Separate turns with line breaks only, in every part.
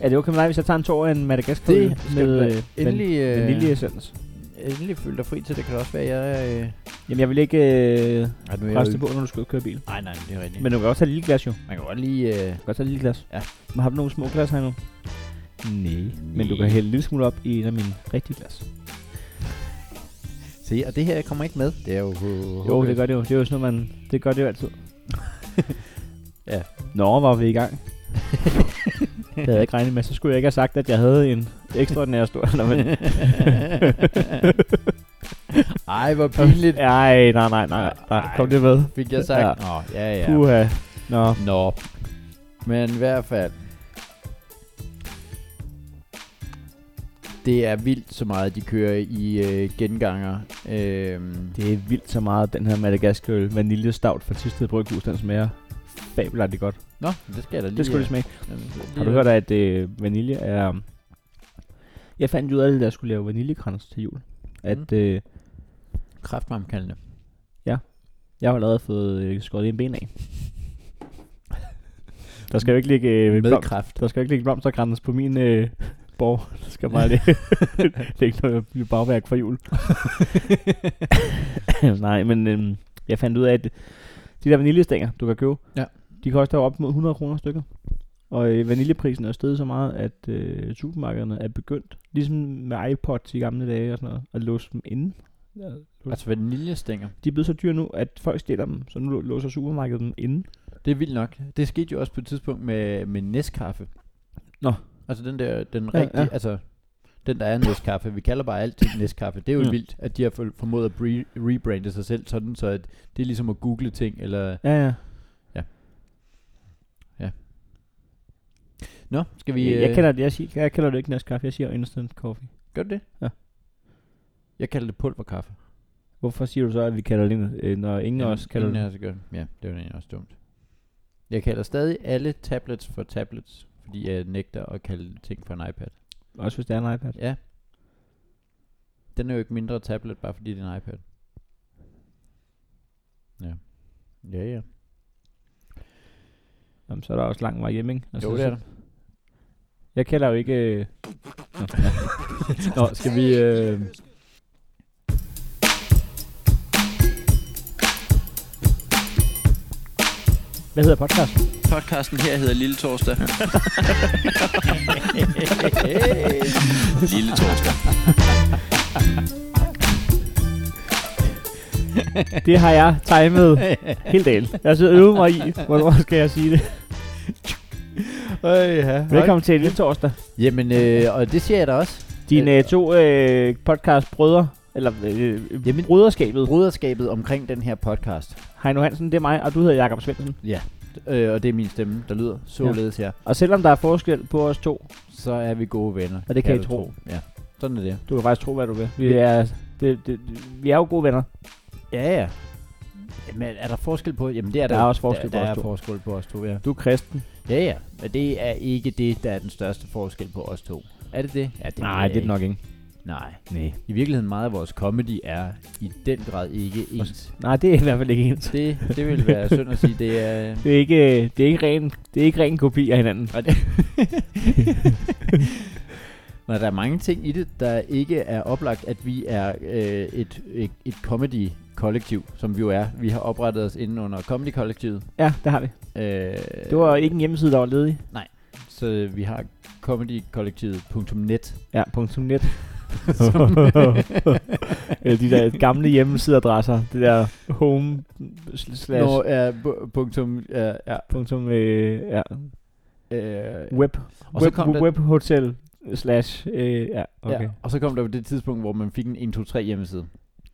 Er det okay med dig, hvis jeg tager en tår af en Madagaskar
Det skal
med
du da
øh,
endelig,
van-
øh,
vanilje essens?
endelig føl dig fri til. Det kan det også være, jeg... Øh,
Jamen, jeg vil ikke øh,
at nu
reste på, når du skal ud og køre bil.
Nej, nej, det er rigtigt.
Men du kan også tage et lille glas, jo.
man kan godt lige... Øh,
Du kan godt tage et lille glas.
Ja.
Men har du nogle små glas Øh. her nu?
nej.
Men du kan hælde en lille smule op i en af mine rigtige glas.
Se, og det her kommer ikke med. Det er jo...
Jo, det gør det jo. Det er jo sådan noget, man... Det gør det jo altid.
Ja.
Nå, var vi i gang. det havde jeg ikke regnet med. Så skulle jeg ikke have sagt, at jeg havde en ekstraordinær stor... Nå, men...
Ej, hvor pinligt.
Ej, nej, nej, nej, nej. Kom det med.
Fik jeg sagt.
Ja.
Nå, ja, ja.
Puha. Nå.
Nå. Men i hvert fald. Det er vildt så meget, de kører i øh, genganger. Øhm,
Det er vildt så meget, den her Madagaskøl vaniljestavt fra Tisted Bryghus, den smager fabelagtigt godt.
Nå, det skal jeg da lige...
Det skulle du smage.
smage.
Har du hørt, at øh, vanilje er... Jeg fandt ud af, at jeg skulle lave vaniljekrans til jul. At
Mm.
øh,
Kræftmamkaldende.
jeg har allerede fået øh, skåret en ben af. Der skal jo ikke ligge, øh,
Med
blom,
kræft.
der skal jo ikke ligge blomsterkrans på min øh, borg. Der skal bare ligge, ligge noget bagværk for jul. Nej, men øh, jeg fandt ud af, at de der vaniljestænger, du kan købe,
Ja.
de koster jo op mod 100 kroner stykket. Og øh, vaniljeprisen er steget så meget, at øh, supermarkederne er begyndt, ligesom med iPods i gamle dage og sådan noget, at låse dem inde.
Altså vaniljestænger.
De er blevet så dyre nu, at folk stjæler dem, så nu lå- låser supermarkedet dem inde.
Det er vildt nok. Det skete jo også på et tidspunkt med, med Nescafe.
Nå.
Altså den der, den
Ja,
rigtige,
ja.
altså den der er Nescafe. Vi kalder bare alt Nescafe. Det er jo
Ja.
vildt, at de har for- formået at bre- rebrande sig selv sådan, så at det er ligesom at google ting, eller
Ja, ja.
Nå, skal vi...
Vi, jeg,
øh,
kalder det, jeg, siger, jeg kalder det ikke Nescafe, jeg siger instant coffee.
Gør du det?
Ja.
Jeg kalder det pulverkaffe.
Hvorfor siger du så, at vi kalder det, øh, når ingen af os kalder
det.
det?
Også gør. det. Ja, det var egentlig også dumt. Jeg kalder stadig alle tablets for tablets, fordi jeg nægter at kalde ting for en iPad.
Også hvis det er en iPad.
Ja. Den er jo ikke mindre tablet, bare fordi det er en iPad. Ja. Ja, ja.
Jamen, så er der også lang vej hjemme, ikke?
Jo, det er der.
Jeg kalder jo ikke... Øh... Nå. Nå, skal vi... Øh... Hvad hedder podcasten?
Podcasten her hedder Lille Torsdag. Lille Torsdag.
Det har jeg timet hele dagen. Jeg sidder og øver mig i, hvornår skal jeg sige det.
Øj, ja.
Velkommen til Lille Torsdag.
Jamen, øh, og det siger jeg da også.
Dine øh, to øh, podcast brødre, eller øh, Jamen.
Jamen-
broderskabet.
Bruderskabet omkring den her podcast.
Heino Hansen, det er mig, og du hedder Jakob Svendsen.
Øh, og det er min stemme, der lyder således her.
Og selvom der er forskel på os to,
Så er vi gode venner.
Og det kan I
du
tro.
Ja, sådan er det.
du kan faktisk tro, hvad du vil. Vi er, det, det, vi er jo gode venner.
Ja, ja. Men er der forskel på? Jamen, det er
Der
der
er
jo.
også forskel på
der, der
os
er
to.
forskel på os to, ja.
Du er kristen.
Ja, ja. Men det er ikke det, der er den største forskel på os to. Er det det? Ja, det ved jeg ikke.
nok ikke.
Nej.
Nej.
I virkeligheden meget af vores comedy er i den grad ikke ens.
Nej, det er i hvert fald ikke ens.
Det, det vil være synd at sige, det er...
Det er ikke, øh, det er ikke, ren, det er ikke ren kopi af hinanden.
Nej, det- Når der er mange ting i det, der ikke er oplagt, at vi er øh, et, et, et comedy-kollektiv, som vi jo er. Vi har oprettet os inden under comedy-kollektivet.
Ja, det har vi.
Øh,
Det var ikke en hjemmeside, der var ledig.
Så vi har comedykollektivet.net.
Ja, .net. Eller de der gamle hjemmesideadresser. Det der home slash
Når er bu- punktum, er, er,
punktum, øh, ja,
øh,
web,
og, så
web,
kom der,
webhotel slash, øh, ja, okay.
ja, og så kom der jo det tidspunkt, hvor man fik en 1, 2, 3 hjemmeside.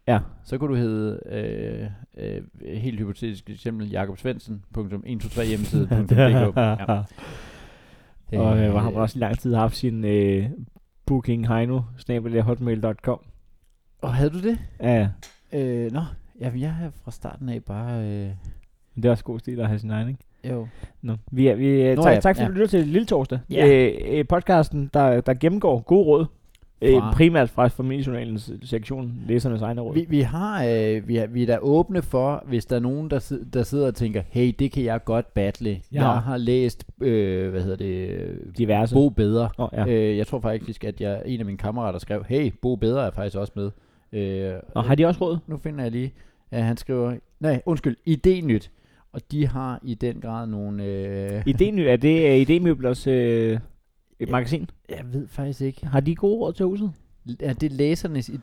Ja.
Så kunne du hedde, øh, øh, helt hypotetisk eksempel, jakobsvendsen.123 hjemmeside.dk. ja.
Og øh, hvor har man også i lang tid haft sin øh, booking heino, hotmail.com.
og havde du det?
Ja, ja.
Øh, nå, jamen, jeg er fra starten af bare... Øh,
Men det er også god stil at have sin egen, ikke?
jo.
Nå, vi er, vi, er,
Nå,
tak,
ja,
tak for, at
ja.
du lytter til Lille Torsdag.
Ja.
Øh, øh, podcasten, der, der gennemgår gode råd Øh,
fra-
primært fra familiejournalens sektion, læsernes egne råd.
Vi, vi, har, øh, vi, har, vi er da åbne for, hvis der er nogen, der, sid- der sidder og tænker, hey, det kan jeg godt battle. Ja.
har-
Jeg har læst, øh, hvad hedder det, øh,
Diverse.
Bo Bedre.
Åh, ja.
Ja. Øh, jeg tror faktisk, at jeg, en af mine kammerater skrev, hey, Bo Bedre er faktisk også med. Øh,
Og har de også råd?
nu finder jeg lige, at han skriver, nej, undskyld, idényt. Og de har i den grad nogle... Øh,
Idény, er det uh, Idémøblers øh, et magasin?
jeg ved faktisk ikke.
Har de gode råd til huset?
Er det læsernes idéer?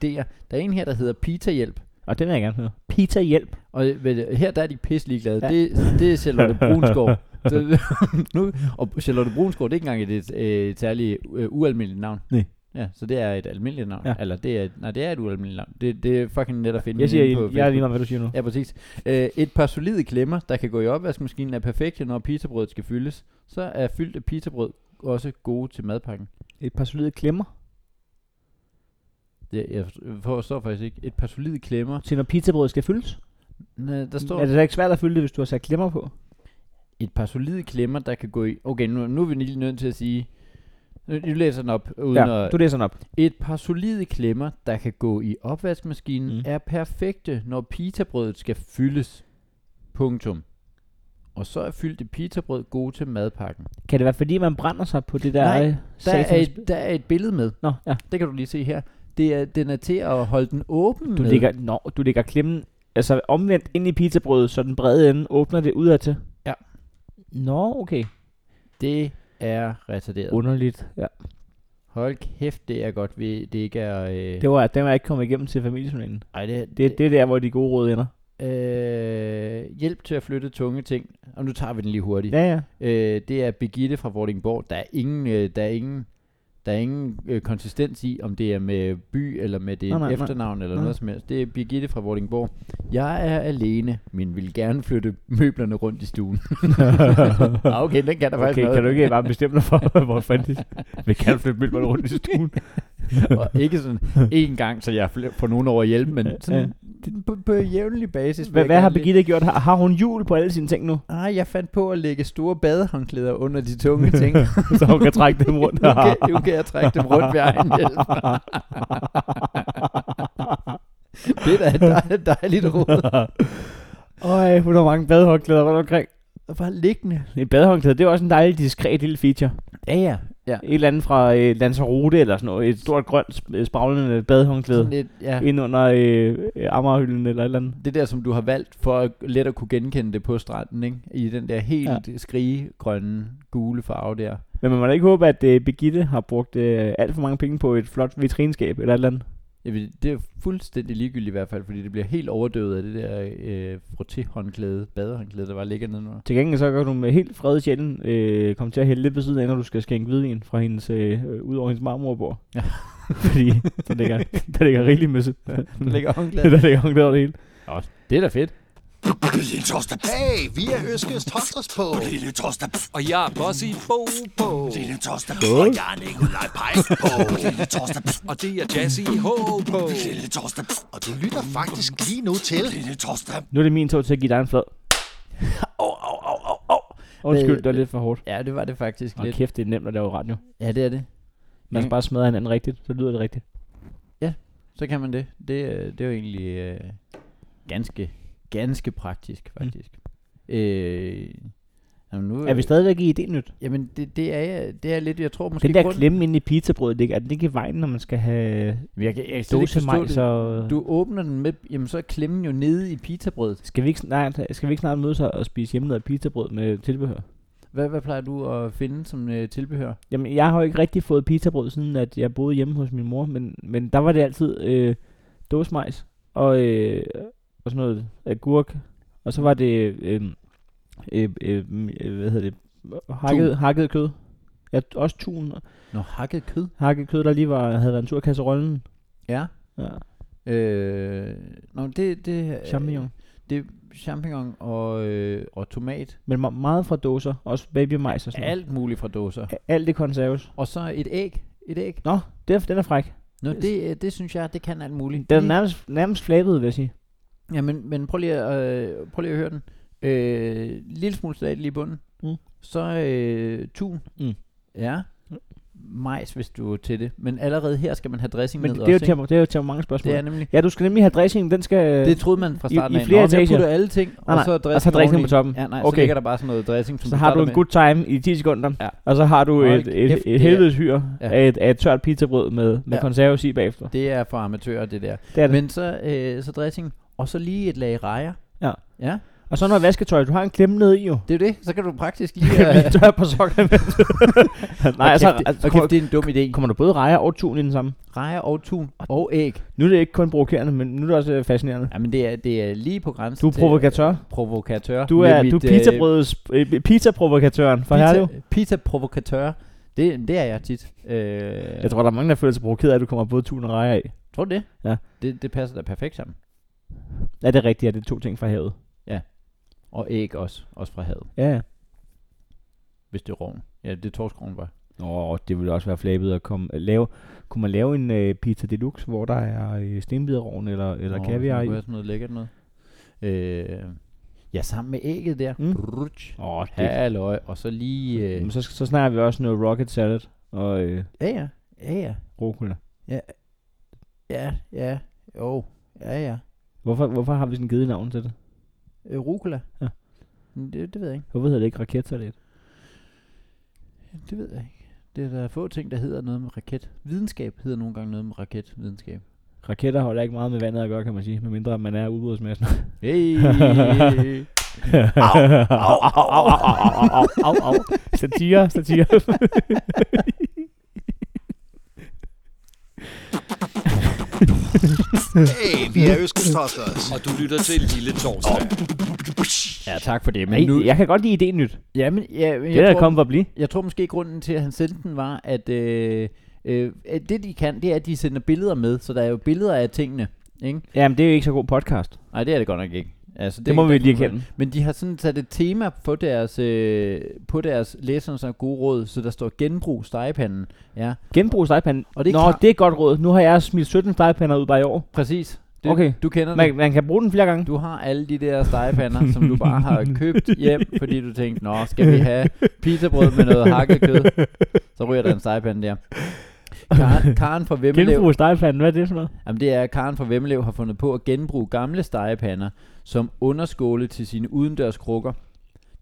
Der er en her, der hedder Pita Hjælp.
Og den vil jeg gerne høre. Pita hjælp.
Og ved- her der er de pisse ligeglade.
Ja.
Ja. Det, det er Charlotte Brunsgaard. Så- nu, og Charlotte Brunsgaard, det er ikke engang et, et, et særligt øh, ualmindeligt navn.
Nej.
Ja, så det er et almindeligt navn.
Ja.
Ja. Eller det er, nej, det er et ualmindeligt navn. Det, det er fucking net at finde
Jeg siger,
inde på
jeg, jeg er
Facebook.
lige meget, hvad du siger nu.
Ja, præcis. Øh, et par solide klemmer, der kan gå i opvaskemaskinen, er perfekte, når pizzabrødet skal fyldes. Så er fyldte pizzabrød også gode til madpakken.
Et par solide klemmer
Det, jeg forst- forstår faktisk ikke. Et par solide klemmer.
til, når pizzabrødet skal fyldes.
Næ, der står
Er det da ikke svært at fylde det, hvis du har sat klemmer på?
et par solide klemmer, der kan gå i... Okay, nu, nu er vi lige nødt til at sige... Nu nu læser jeg den op, uden ja,
Ja,
at...
du læser den op.
Et par solide klemmer, der kan gå i opvaskemaskinen,
Mm.
mm. er perfekte, når pitabrødet skal fyldes. Punktum. Og så er fyldte pitabrød gode til madpakken.
Kan det være, fordi man brænder sig på det der
Nej,
øh,
Der er,
satans...
et, der er et billede med.
Nå, ja.
Det kan du lige se her. Det er, den er til at holde den åben
Du
med.
ligger, nå, du ligger klemmen altså omvendt ind i pizzabrødet, så den brede ende åbner det udadtil.
Ja.
Nå, okay.
Det er retarderet.
Underligt. Ja.
Hold kæft, det er godt, vi, det ikke er... Øh,
Det var, den var jeg ikke kommet igennem til familiejournalen.
ej, det,
Det, det er der, hvor de gode råd ender.
Øh, hjælp til at flytte tunge ting. Og nu tager vi den lige hurtigt. Ja.
Ja, ja.
Øh, det er Birgitte fra Vordingborg. Der er ingen, øh, der er ingen, der er ingen øh, konsistens i, om det er med by eller med det
Nej, nej, nej.
efternavn eller
Nej.
noget som helst. Det er Birgitte fra Vordingborg. Jeg er alene, men vil gerne flytte møblerne rundt i stuen. ah, okay, den kan der faktisk
Okay,
noget.
kan du ikke bare bestemme dig for, hvor fanden de vil gerne flytte møblerne rundt i stuen?
Og ikke sådan én gang, så jeg fl- får nogen over at hjælpe, men sådan det- på, på jævnlig basis. vil
Hvad,
jeg
hvad
gerne
har
lige-
Birgitte gjort? Har, har hun jul på alle sine ting nu?
Ah, jeg fandt på at lægge store badehåndklæder under de tunge ting.
Så hun kan trække dem rundt.
nu, kan, nu kan jeg trække dem rundt ved egen hjælp. det er da et dejligt, dejligt råd.
Øj, hun har mange badehåndklæder rundt omkring.
Bare liggende.
Et badehåndklæde, det er også en dejlig diskret lille feature.
Ja, ja. ja.
Et eller andet fra øh, Lanzarote eller sådan noget. Et stort grønt sp- øh, spraglende badehåndklæde.
Sådan lidt, ja.
Ind under øh, øh, Amagerhylden eller et eller andet.
Det der, som du har valgt for at let at kunne genkende det på stranden, ikke? I den der helt ja. skrigegrønne, gule farve der.
Men man må da ikke håbe, at øh, Birgitte har brugt øh, alt for mange penge på et flot vitrineskab eller et eller andet.
Jeg ved, det er fuldstændig ligegyldigt i hvert fald, fordi det bliver helt overdøvet af det der øh, frottéhåndklæde, badehåndklæde, der bare ligger nedenunder.
Til gengæld så kan du med helt fred i sjælen øh, komme til at hælde lidt ved siden af, når du skal skænke hvidvin fra hendes, øh, øh, ud over hendes marmorbord.
Ja.
Fordi der ligger, der ligger rigeligt med
Der ligger håndklæde.
der ligger håndklæder over det hele.
Det er da fedt.
Lille torsdag.
Hey, vi er Øskes Torsdags på.
Lille torsdag.
Og jeg er Bossy Bo Bo.
Lille torsdag. Og jeg er Nikolaj Pajsen på. Lille torsdag.
Og det er Jazzy Ho Bo.
Lille torsdag.
Og du lytter faktisk lige nu til
Lille torsdag.
Nu er det min tur til at give dig en flad.
Au, au, au, au, au.
Undskyld,
Øh,
det var lidt for hårdt.
Ja, det var det faktisk
Og
lidt. Mm.
kæft, det er nemt at lave radio.
Ja, det er det.
Man skal bare smadre hinanden rigtigt, så lyder det rigtigt.
Så kan man det. Det, øh, det er jo egentlig øh, ganske, ganske praktisk, faktisk. Mm. Øh, jamen nu, øh,
Er vi stadigvæk i idényt?
Jamen, det, det, er, jeg- det er lidt, jeg tror måske...
Den der
grunden-
klemme inde i pizzabrødet, ikke? er den ikke i vejen, når man skal have
Jamen, Jeg, kan, jeg kan slet ikke forstå
dåsemajs
det.
og...
Du åbner den med... Jamen, så er klemmen jo nede i pitabrødet.
Skal vi, ikke snart, skal vi ikke snart mødes og og spise hjemmelavet pizzabrød med tilbehør?
Hvad, hvad plejer du at finde som øh, tilbehør?
Jamen, jeg har jo ikke rigtig fået pizzabrød, siden at jeg boede hjemme hos min mor, men, men der var det altid øh, dåsmajs og, øh, og sådan noget agurk, og så var det, øh, øh, øh, øh, hvad hedder det, hakket, hakket kød. Ja, også tun.
Nå, hakket kød.
Hakket kød, der lige var, havde været en tur i kasserollen.
Ja.
Ja,
Øh, nå, det... det
champignon.
Det er champignon og, øh, og tomat.
Men me- meget fra dåser, også babymajs og sådan noget.
Alt muligt fra dåser.
Alt det konserves.
Og så et æg. Et æg.
Nå, det er, den er fræk.
Nå, det, øh, det synes jeg, det kan alt muligt.
Den er
Lige-
nærmest, nærmest flabet, vil jeg sige.
Ja, men, men prøv, lige at, øh, prøv lige at høre den. Øh, lille smule salat lige i bunden.
Mm.
Så øh, tun.
Mm.
Ja. majs, hvis du er til det. Men allerede her skal man have dressing
Men
ned
det er, jo
også, ikke?
temper, det er jo temper mange spørgsmål.
det er nemlig.
Ja, du skal nemlig have dressingen, den skal...
Det troede man fra
i-
starten
i
af.
flere
Nå, men jeg
etager.
putter alle ting,
Nej,
og så
nej,
er
og så
dressing,
dressing
oveni.
på toppen.
Ja, nej, så
Okay.
ligger der bare sådan noget dressing, som
så
du
har du
starter
en
med.
good time i 10 sekunder,
Ja.
og så har du
Hold
et,
kæft,
et,
det er-
et helvedes hyr
Ja.
af, et, af et tørt pizzabrød med, med
Ja.
ja. konserves i bagefter.
Det er for amatører, det der.
Det er det. Men,
Men så, øh, så dressing, og så lige et lag rejer.
Ja.
Ja,
og så noget vasketøj, du har en klemme nede i jo.
det er jo det. Så kan du praktisk lige...
Ja,
Øh,
ja. tør på sokkerne. Nej,
og
altså,
kæft, det-
altså
og
kommer,
kæft, det er en dum idé.
kommer der både rejer og tun i den samme?
Rejer og tun og æg.
Nu er det ikke kun provokerende, men nu er det også øh, fascinerende.
Jamen, det er, det er lige på grænsen
Du er
til-
provokatør.
provokatør.
Du
med
er,
mit,
du
øh,
er pizzabrødets, øh, pizzaprovokatøren fra Herlev.
pizza, pizza-provokatør. Det, det er jeg tit. Øh,
Jeg tror, der er mange, der føler sig provokeret af, at du kommer både tun og rejer af.
tror du det?
Ja.
det? Det passer da perfekt sammen.
Ja, det er rigtigt, at det er to ting fra havet.
Og æg også. Også fra havet,
Ja, ja.
hvis det er roven. Ja, det er torskroven var.
Nå, det ville også være flabet at komme, at lave. Kunne man lave en øh, pizza deluxe, hvor der er øh, stenbiderrovn eller, eller
Nå,
kaviar i?
hvis man kunne have sådan noget lækkert noget. Øh, ja, sammen med ægget der.
Mm.
Brutsch.
Åh, det.
Halløj. Og så lige... Øh,
Men så, så snakker vi også noget rocket salad og øh,
ja, ja. Ja, ja.
rucola.
Ja, ja. Jo. Ja, ja.
Hvorfor, hvorfor har vi sådan givet navn til det?
Øh, rucola.
Ja.
Men Det, det ved jeg ikke.
Hvorfor hedder det ikke raketsalat?
Det ved jeg ikke. Det er der få ting, der hedder noget med raket. Videnskab hedder nogle gange noget med raketvidenskab.
Raketter holder ikke meget med vandet at gøre, kan man sige, medmindre man er udbrudsmassen.
Hey!
au, au. Satire, satire.
Hey, vi er Øskes Tostas.
Og du lytter til Lille Torsdag.
ja, tak for det.
Men nu, jeg kan godt lide ideen nyt.
ja, men, ja, men
Det er
jeg,
der
tror,
kommet for at blive.
jeg tror måske, grunden til, at han sendte den, var, at øh, øh, at det, de kan, det er, at de sender billeder med. Så der er jo billeder af tingene. Ikke?
Jamen, det er jo ikke så god podcast. Det,
Nej, det er det godt nok ikke. Altså,
det må
er-
vi
der
lige
kan man-
erkende.
Men de har sådan sat et tema på deres, øh, på deres læsernes og gode råd, så der står genbrug stegepanden. Ja,
Genbrug stegepanden.
Og det er
Nå,
klart-
det er et godt råd. Nu har jeg smidt 17 stegepander ud bare i år.
præcis. Det,
Okay.
Du kender det.
Man, man kan bruge den flere gange.
Du har alle de der stegepander, som du bare har købt hjem, fordi du tænkte, nå, skal vi have pizzabrød med noget hakkekød? Så ryger der en stegepande der. Karen, Karen fra Vemmelev
Genbrug stegepanden, hvad er det for noget?
Jamen det er, at Karen fra Vemmelev har fundet på at genbruge gamle stegepander som underskåle til sine udendørs krukker.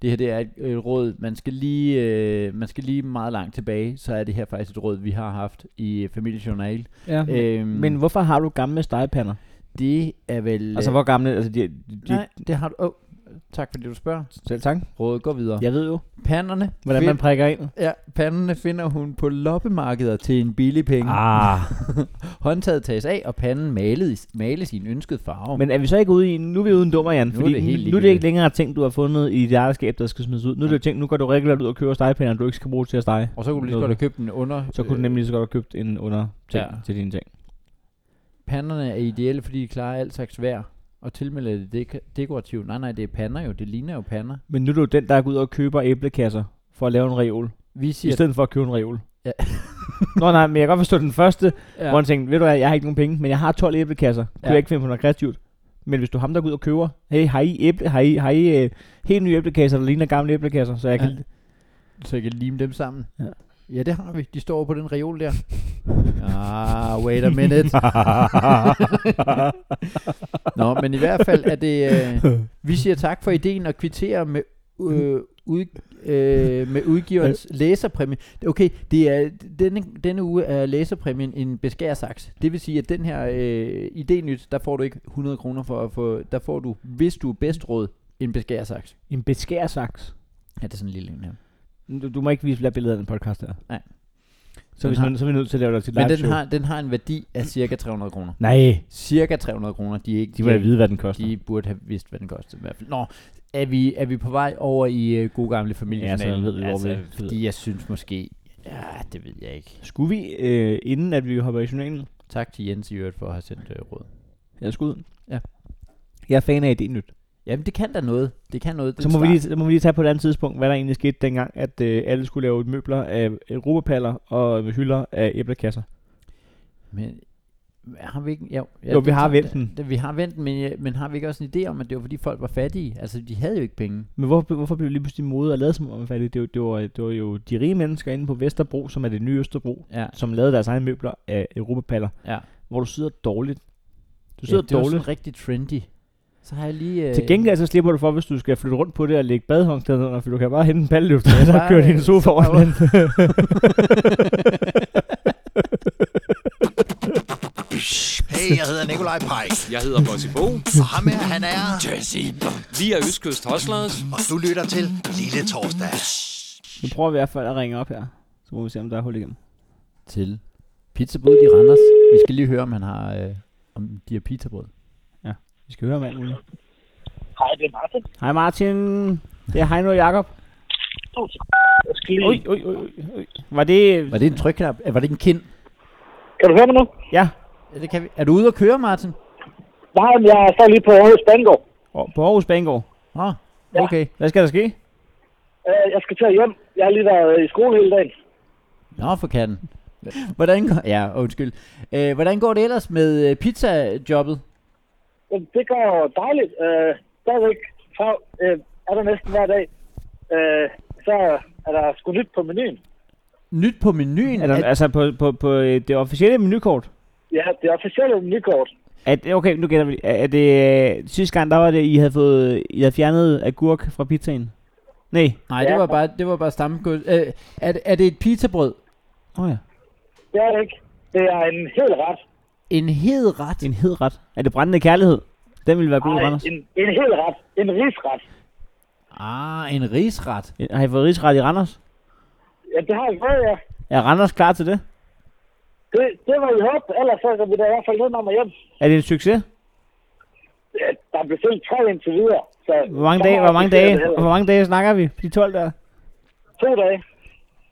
Det her det er et, et råd, man skal, lige, øh, man skal lige meget langt tilbage, så er det her faktisk et råd, vi har haft i øh, familiejournal.
Ja. Øh,
Øhm,
men hvorfor har du gamle stegepander?
det er vel...
Altså, hvor gamle? Altså, de, de,
Nej, det har du... Oh, tak fordi du spørger.
Selv tak.
Rådet går videre.
Jeg ved jo,
Panderne,
hvordan
find,
man prikker ind.
ja, panderne finder hun på loppemarkeder til en billig penge.
Ah.
Håndtaget tages af, og panden males, males i en ønsket farve.
Oh. Men er vi så ikke ude i, nu er vi ude i en dummer, Jan,
Nu er
fordi
det helt
nu er det
ligegyldigt.
ikke længere ting, du har fundet i dit eget skab, der skal smides ud. Nu er det jo ting, nu går du regulært ud og køber stegepander, du ikke skal bruge til at stege.
og så kunne du lige så godt have købt den under...
Så kunne du nemlig lige så godt have købt en under ting
Øh. Ja.
ja. til dine ting.
Panderne er ideelle, fordi de klarer alt slags vejr. Og tilmelder det dek- dekorativt. Nej, nej, det er pander jo. Det ligner jo pander.
Men nu er du jo den, der går ud og køber æblekasser for at lave en reol,
Vi
i
siger...
stedet for at købe en reol.
Ja.
Nå nej, men jeg kan godt forstå den første, ja.
ja,
hvor han tænkte, ved du hvad, jeg har ikke nogen penge, men jeg har 12 æblekasser. Kunne
Ja.
jeg ikke finde på noget kreativt? Men hvis du er ham, der går ud og køber, hey, har I, æble, har I, har I øh, helt nye æblekasser, der ligner gamle æblekasser, så jeg
Ja.
ja. kan...
så jeg kan lime dem sammen.
Ja.
ja, det har vi. De står over på den reol der. ah, wait a minute. Nå, men i hvert fald er det... Øh, vi siger tak for ideen og kvitterer med, øh, ud, øh, med udgiverens læserpræmie. Okay, det er, denne, denne uge er læserpræmien en beskærsaks. Det vil sige, at den her øh, idé nyt, der får du ikke 100 kroner for at få... Der får du, hvis du er bedst råd, en beskærsaks.
En beskærsaks.
Ja, det er sådan en lille en her.
Du, du må ikke vise flere billeder af den podcast her.
Nej.
Så,
Den
hvis
har-
man, så er vi nødt til at lave det til live
Men den
show.
har, den har en værdi af cirka 300 kroner.
Nej,
Cirka 300 kroner. De, er ikke,
de må da vide, hvad den koster.
de burde have vidst, hvad den koster i hvert fald. Nå, er vi, er vi på vej over i uh, god gamle familie?
Ja, så ved vi, hvor vi-
Fordi jeg synes måske... Ja, det ved jeg ikke.
Skulle vi, øh, inden at vi hopper i journalen,
Tak til Jens i øvrigt for at have sendt øh, råd.
jeg skulle ud?
Ja.
Jeg er fan af idé nyt.
Jamen, det kan da noget. Det kan noget. Det
Så
er
må
en
vi, lige,
start.
så må vi lige tage på et andet tidspunkt, hvad der egentlig skete dengang, at øh, alle skulle lave øh, møbler af europapaller og hylder af æblekasser.
Men Har vi ikke? Jo, ja,
Jo, vi
det-
har
det-
vendt den.
Det, vi har vendt, men, ja, men har vi ikke også en idé om, at det var fordi folk var fattige? Altså, de havde jo ikke penge.
Men hvorfor, hvorfor blev det lige pludselig mode og lavet som om man fattig? Det, var- det, var, det var jo de rige mennesker inde på Vesterbro, som er det nye Østerbro,
Ja,
som lavede deres egne møbler af europapaller,
ja.
hvor du sidder dårligt. Du sidder
ja, det
ja,
var
dårligt.
sådan rigtig trendy. Så har jeg lige... Øh,
Til gengæld så slipper du for, hvis du skal flytte rundt på det og lægge badehåndklæder under, for du kan bare hente en palleløfter, og så
Bare,
kører
øh,
din sofa
så
over
bare-
den.
Hey, jeg hedder Nikolaj Pej.
Jeg hedder Bossy Bo.
Og ham her, han er...
Vi er Østkyst Hustlers.
Og du lytter til Lille Torsdag.
Nu prøver vi i hvert fald at ringe op her, så må vi se, om der er hul igennem.
Til pizzabrød i Randers. Vi skal lige høre, om han har... Øh, om de har pizzabrød.
Vi skal høre om alt muligt.
Hej, det er Martin.
Hej Martin, det er Heino og Jakob.
Jeg skal lige...
Oj, oj, oj, oj, oj. Var det...
Var det en trykknap? Øh, Var det en kind?
Kan du høre mig nu?
Ja,
Ja, det kan vi. Er du ude at køre, Martin?
Nej, men jeg står lige på Aarhus Banegård.
og på Aarhus Banegård.
Åh,
Ja.
okay.
Hvad skal der ske?
Øh, Jeg skal til hjem. Jeg har lige været i skole hele dagen.
Nå, for katten. Hvordan går, ja, undskyld. Øh, hvordan går det ellers med øh, pizzajobbet?
Jamen, Det går dejligt. Øh, Stadigvæk fra, øh, er der næsten hver dag. Øh, Så er der sgu nyt på menuen.
Nyt på menuen?
Er der, altså på, på, på øh, det officielle menukort?
Ja, det officielle menukort.
At, okay, nu gætter vi. lige. Er er det, øh, sidste gang, der var det, I havde, fået, I havde fjernet agurk fra pizzaen? Nej.
Nej, det
Ja.
var bare, det var bare stammekød. Øh, er, det- er det et pizzabrød?
Åh oh, ja.
Det er det ikke. Det er en hel ret.
En hed ret?
En hed ret. Er det brændende kærlighed? Den ville være god,
Nej,
Randers.
en, en hel ret. En risret.
Ah, en risret.
Har I fået rigsret i Randers?
Ja, det har jeg fået, ja.
Er Randers klar til det?
Det, det var i håb. Ellers så vil der i hvert fald ned mig hjem.
Er det en succes?
Ja, Der er bestilt tre indtil videre. Så
Hvor mange
så
dage, hvor mange
officielt
dage,
er det heller
hvor mange dage snakker vi? De 12 der?
ikke. To dage.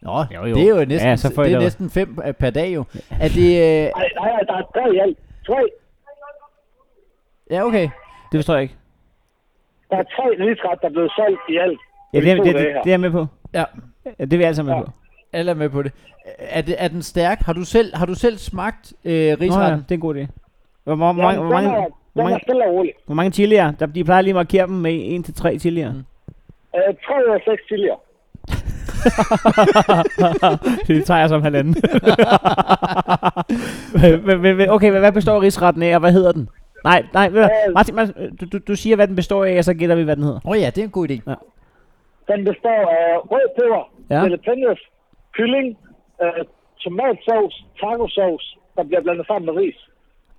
Nå, jo, jo. det er jo næsten,
Ja,
ja,
så får I
det er
lavet.
næsten fem øh, per dag jo. Er det... Øh,
Nej, nej, nej, der er tre i alt. Tre.
ja, okay.
Det forstår jeg ikke.
Der er tre risret, der er blevet solgt i alt.
Ja, det, er,
to
det, det,
dage
det
her.
er jeg med på.
Ja,
Ja, det er vi alle sammen med på.
alle er med på det. Er, det, er den stærk? Har du selv, har du selv smagt øh,
Nå ja,
risretten?
det er en god idé. Hvor, hvor, hvor, mange, hvor,
Jamen,
mange,
den er,
hvor,
den er
mange,
stille og rolig.
hvor mange chilier? Der, de plejer lige at markere dem med 1-3 chilier.
Mm.
Øh, tre ud af seks chilier.
det tager jeg som halvanden. men, men, men, okay, men hvad består rigsretten af, og hvad hedder den? Nej, nej, ved du, hvad,
Øh.
Martin, Martin du, du, du siger, hvad den består af, og så gætter vi, hvad den hedder.
Åh oh, ja, det er en god idé.
Den består af rød peber,
Ja.
ja. jalapenos, kylling, øh, tomatsovs, tacosovs, der bliver blandet sammen med ris.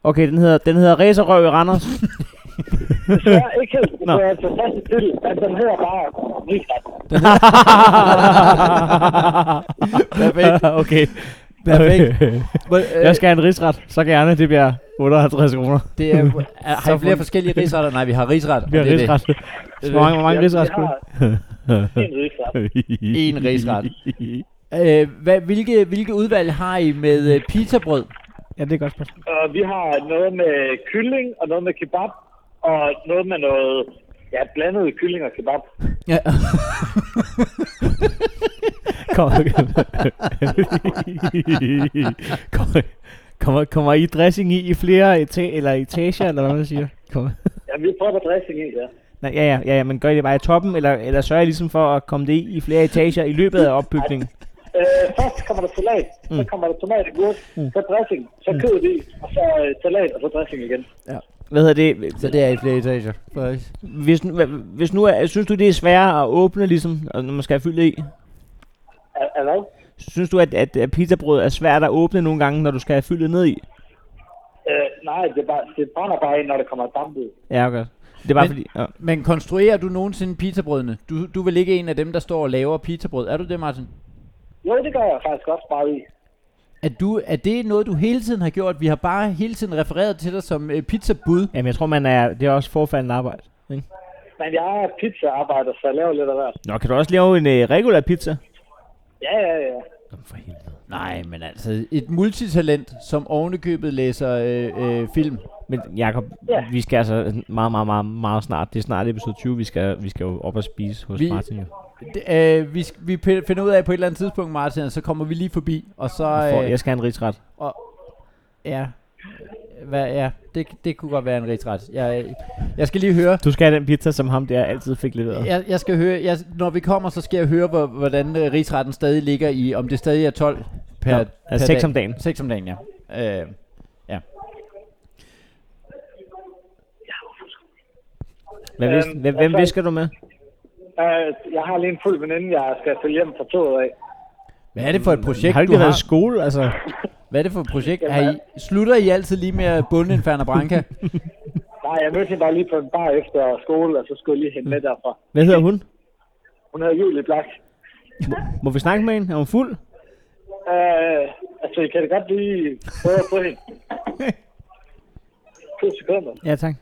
Okay, den hedder, den hedder Racerøv i Randers.
Det er ikke helt
Nå.
det er en fantastisk titel, men den hedder bare risret.
Perfekt.
okay.
Perfekt. Hvor, øh,
Jeg skal have en rigsret, så gerne. Det bliver 58 kroner.
Det er, er, har I flere forskellige risretter? Nej, vi har risret. og
Det bliver
det er det.
rigsret. Hvor mange, hvor mange rigsret
Jeg
skulle
har en risret.
En risret. Øh, hvad, hvilke, hvilke udvalg har I med øh, pizzabrød?
Ja, det er et godt spørgsmål.
Og vi har noget med kylling, og noget med kebab, og noget med noget... Ja, blandet kylling og kebab.
Ja.
Kom. Kom. Kommer, kommer I dressing i, i flere eta- eller etager, eller hvad man siger? Kom.
Ja, vi prøver dressing i, ja.
Nej, ja, ja, ja, ja, men gør I det bare i toppen, eller, eller sørger I ligesom for at komme det i, i flere etager i løbet af opbygningen?
Øh, først kommer der salat, så kommer der tomat og gurk, så dressing, så kød i, og så øh, salat, og så dressing igen.
Hvad hedder det?
Så det er i flere etager. Faktisk.
Hvis, nu- hva- hvis nu, er- synes du, det er sværere at åbne, ligesom, og når man skal have fyldt i?
Er, er hvad?
Synes du, at, at at pizzabrød er svært at åbne nogle gange, når du skal have fyldet ned i?
Øh, nej, det, er bare, det brænder bare ind, når der kommer damp ud.
Ja, okay. Det er bare
Men-
fordi... Ja.
Men konstruerer du nogensinde pizzabrødene? Du, du er vel ikke en af dem, der står og laver pizzabrød. Er du det, Martin?
Jo, det gør jeg faktisk også bare i.
Er, du, er det noget, du hele tiden har gjort? Vi har bare hele tiden refereret til dig som øh, pizzabud.
Jamen, jeg tror, man er, det er også forfaldende arbejde. Ikke?
Men jeg er pizzaarbejder, så jeg laver lidt af hvert.
Nå, kan du også lave en øh, regulær pizza?
Ja, ja, ja.
Nej, men altså et multitalent, som ovenikøbet læser øh, øh, film.
Men Jakob,
Ja.
vi skal altså meget, meget, meget, meget snart. Det er snart episode 20, vi skal, vi skal jo op og spise hos
Vi-
Martin. Jo.
Det, øh, vi, sk- vi p- finder ud af på et eller andet tidspunkt, Martin, og så kommer vi lige forbi, og så...
Jeg, får,
øh,
jeg skal have en rigsret.
og, ja. hvad, ja, det, det kunne godt være en rigsret. Jeg, jeg skal lige høre,
Du skal have den pizza, som ham der altid fik leveret.
jeg, jeg skal høre jeg, når vi kommer, så skal jeg høre, hvor, hvordan øh, rigsretten stadig ligger i, om det stadig er 12 per,
Nå,
per
altså seks om dagen.
6 om dagen, ja. Øh, ja.
Hvem, vis,
Øhm,
hvem, hvem
altså-
visker du med?
Øh, jeg har lige en fuld veninde, jeg skal følge hjem fra toget af.
Hvad er det for et projekt,
har du
du
ikke været i
har?
skole? Altså,
Hvad er det for et projekt?
Jamen,
Er I, slutter I altid lige med at bunde en Ferner Branca?
Nej, jeg mødte hende bare lige på en bar efter skole, og så skulle jeg lige hente med derfra.
hvad hedder hun?
Hun hedder Julie Black.
Må, må vi snakke med hende? Er hun fuld?
Øh, altså, jeg kan da godt lige prøve at få hende. To sekunder.
Ja, tak.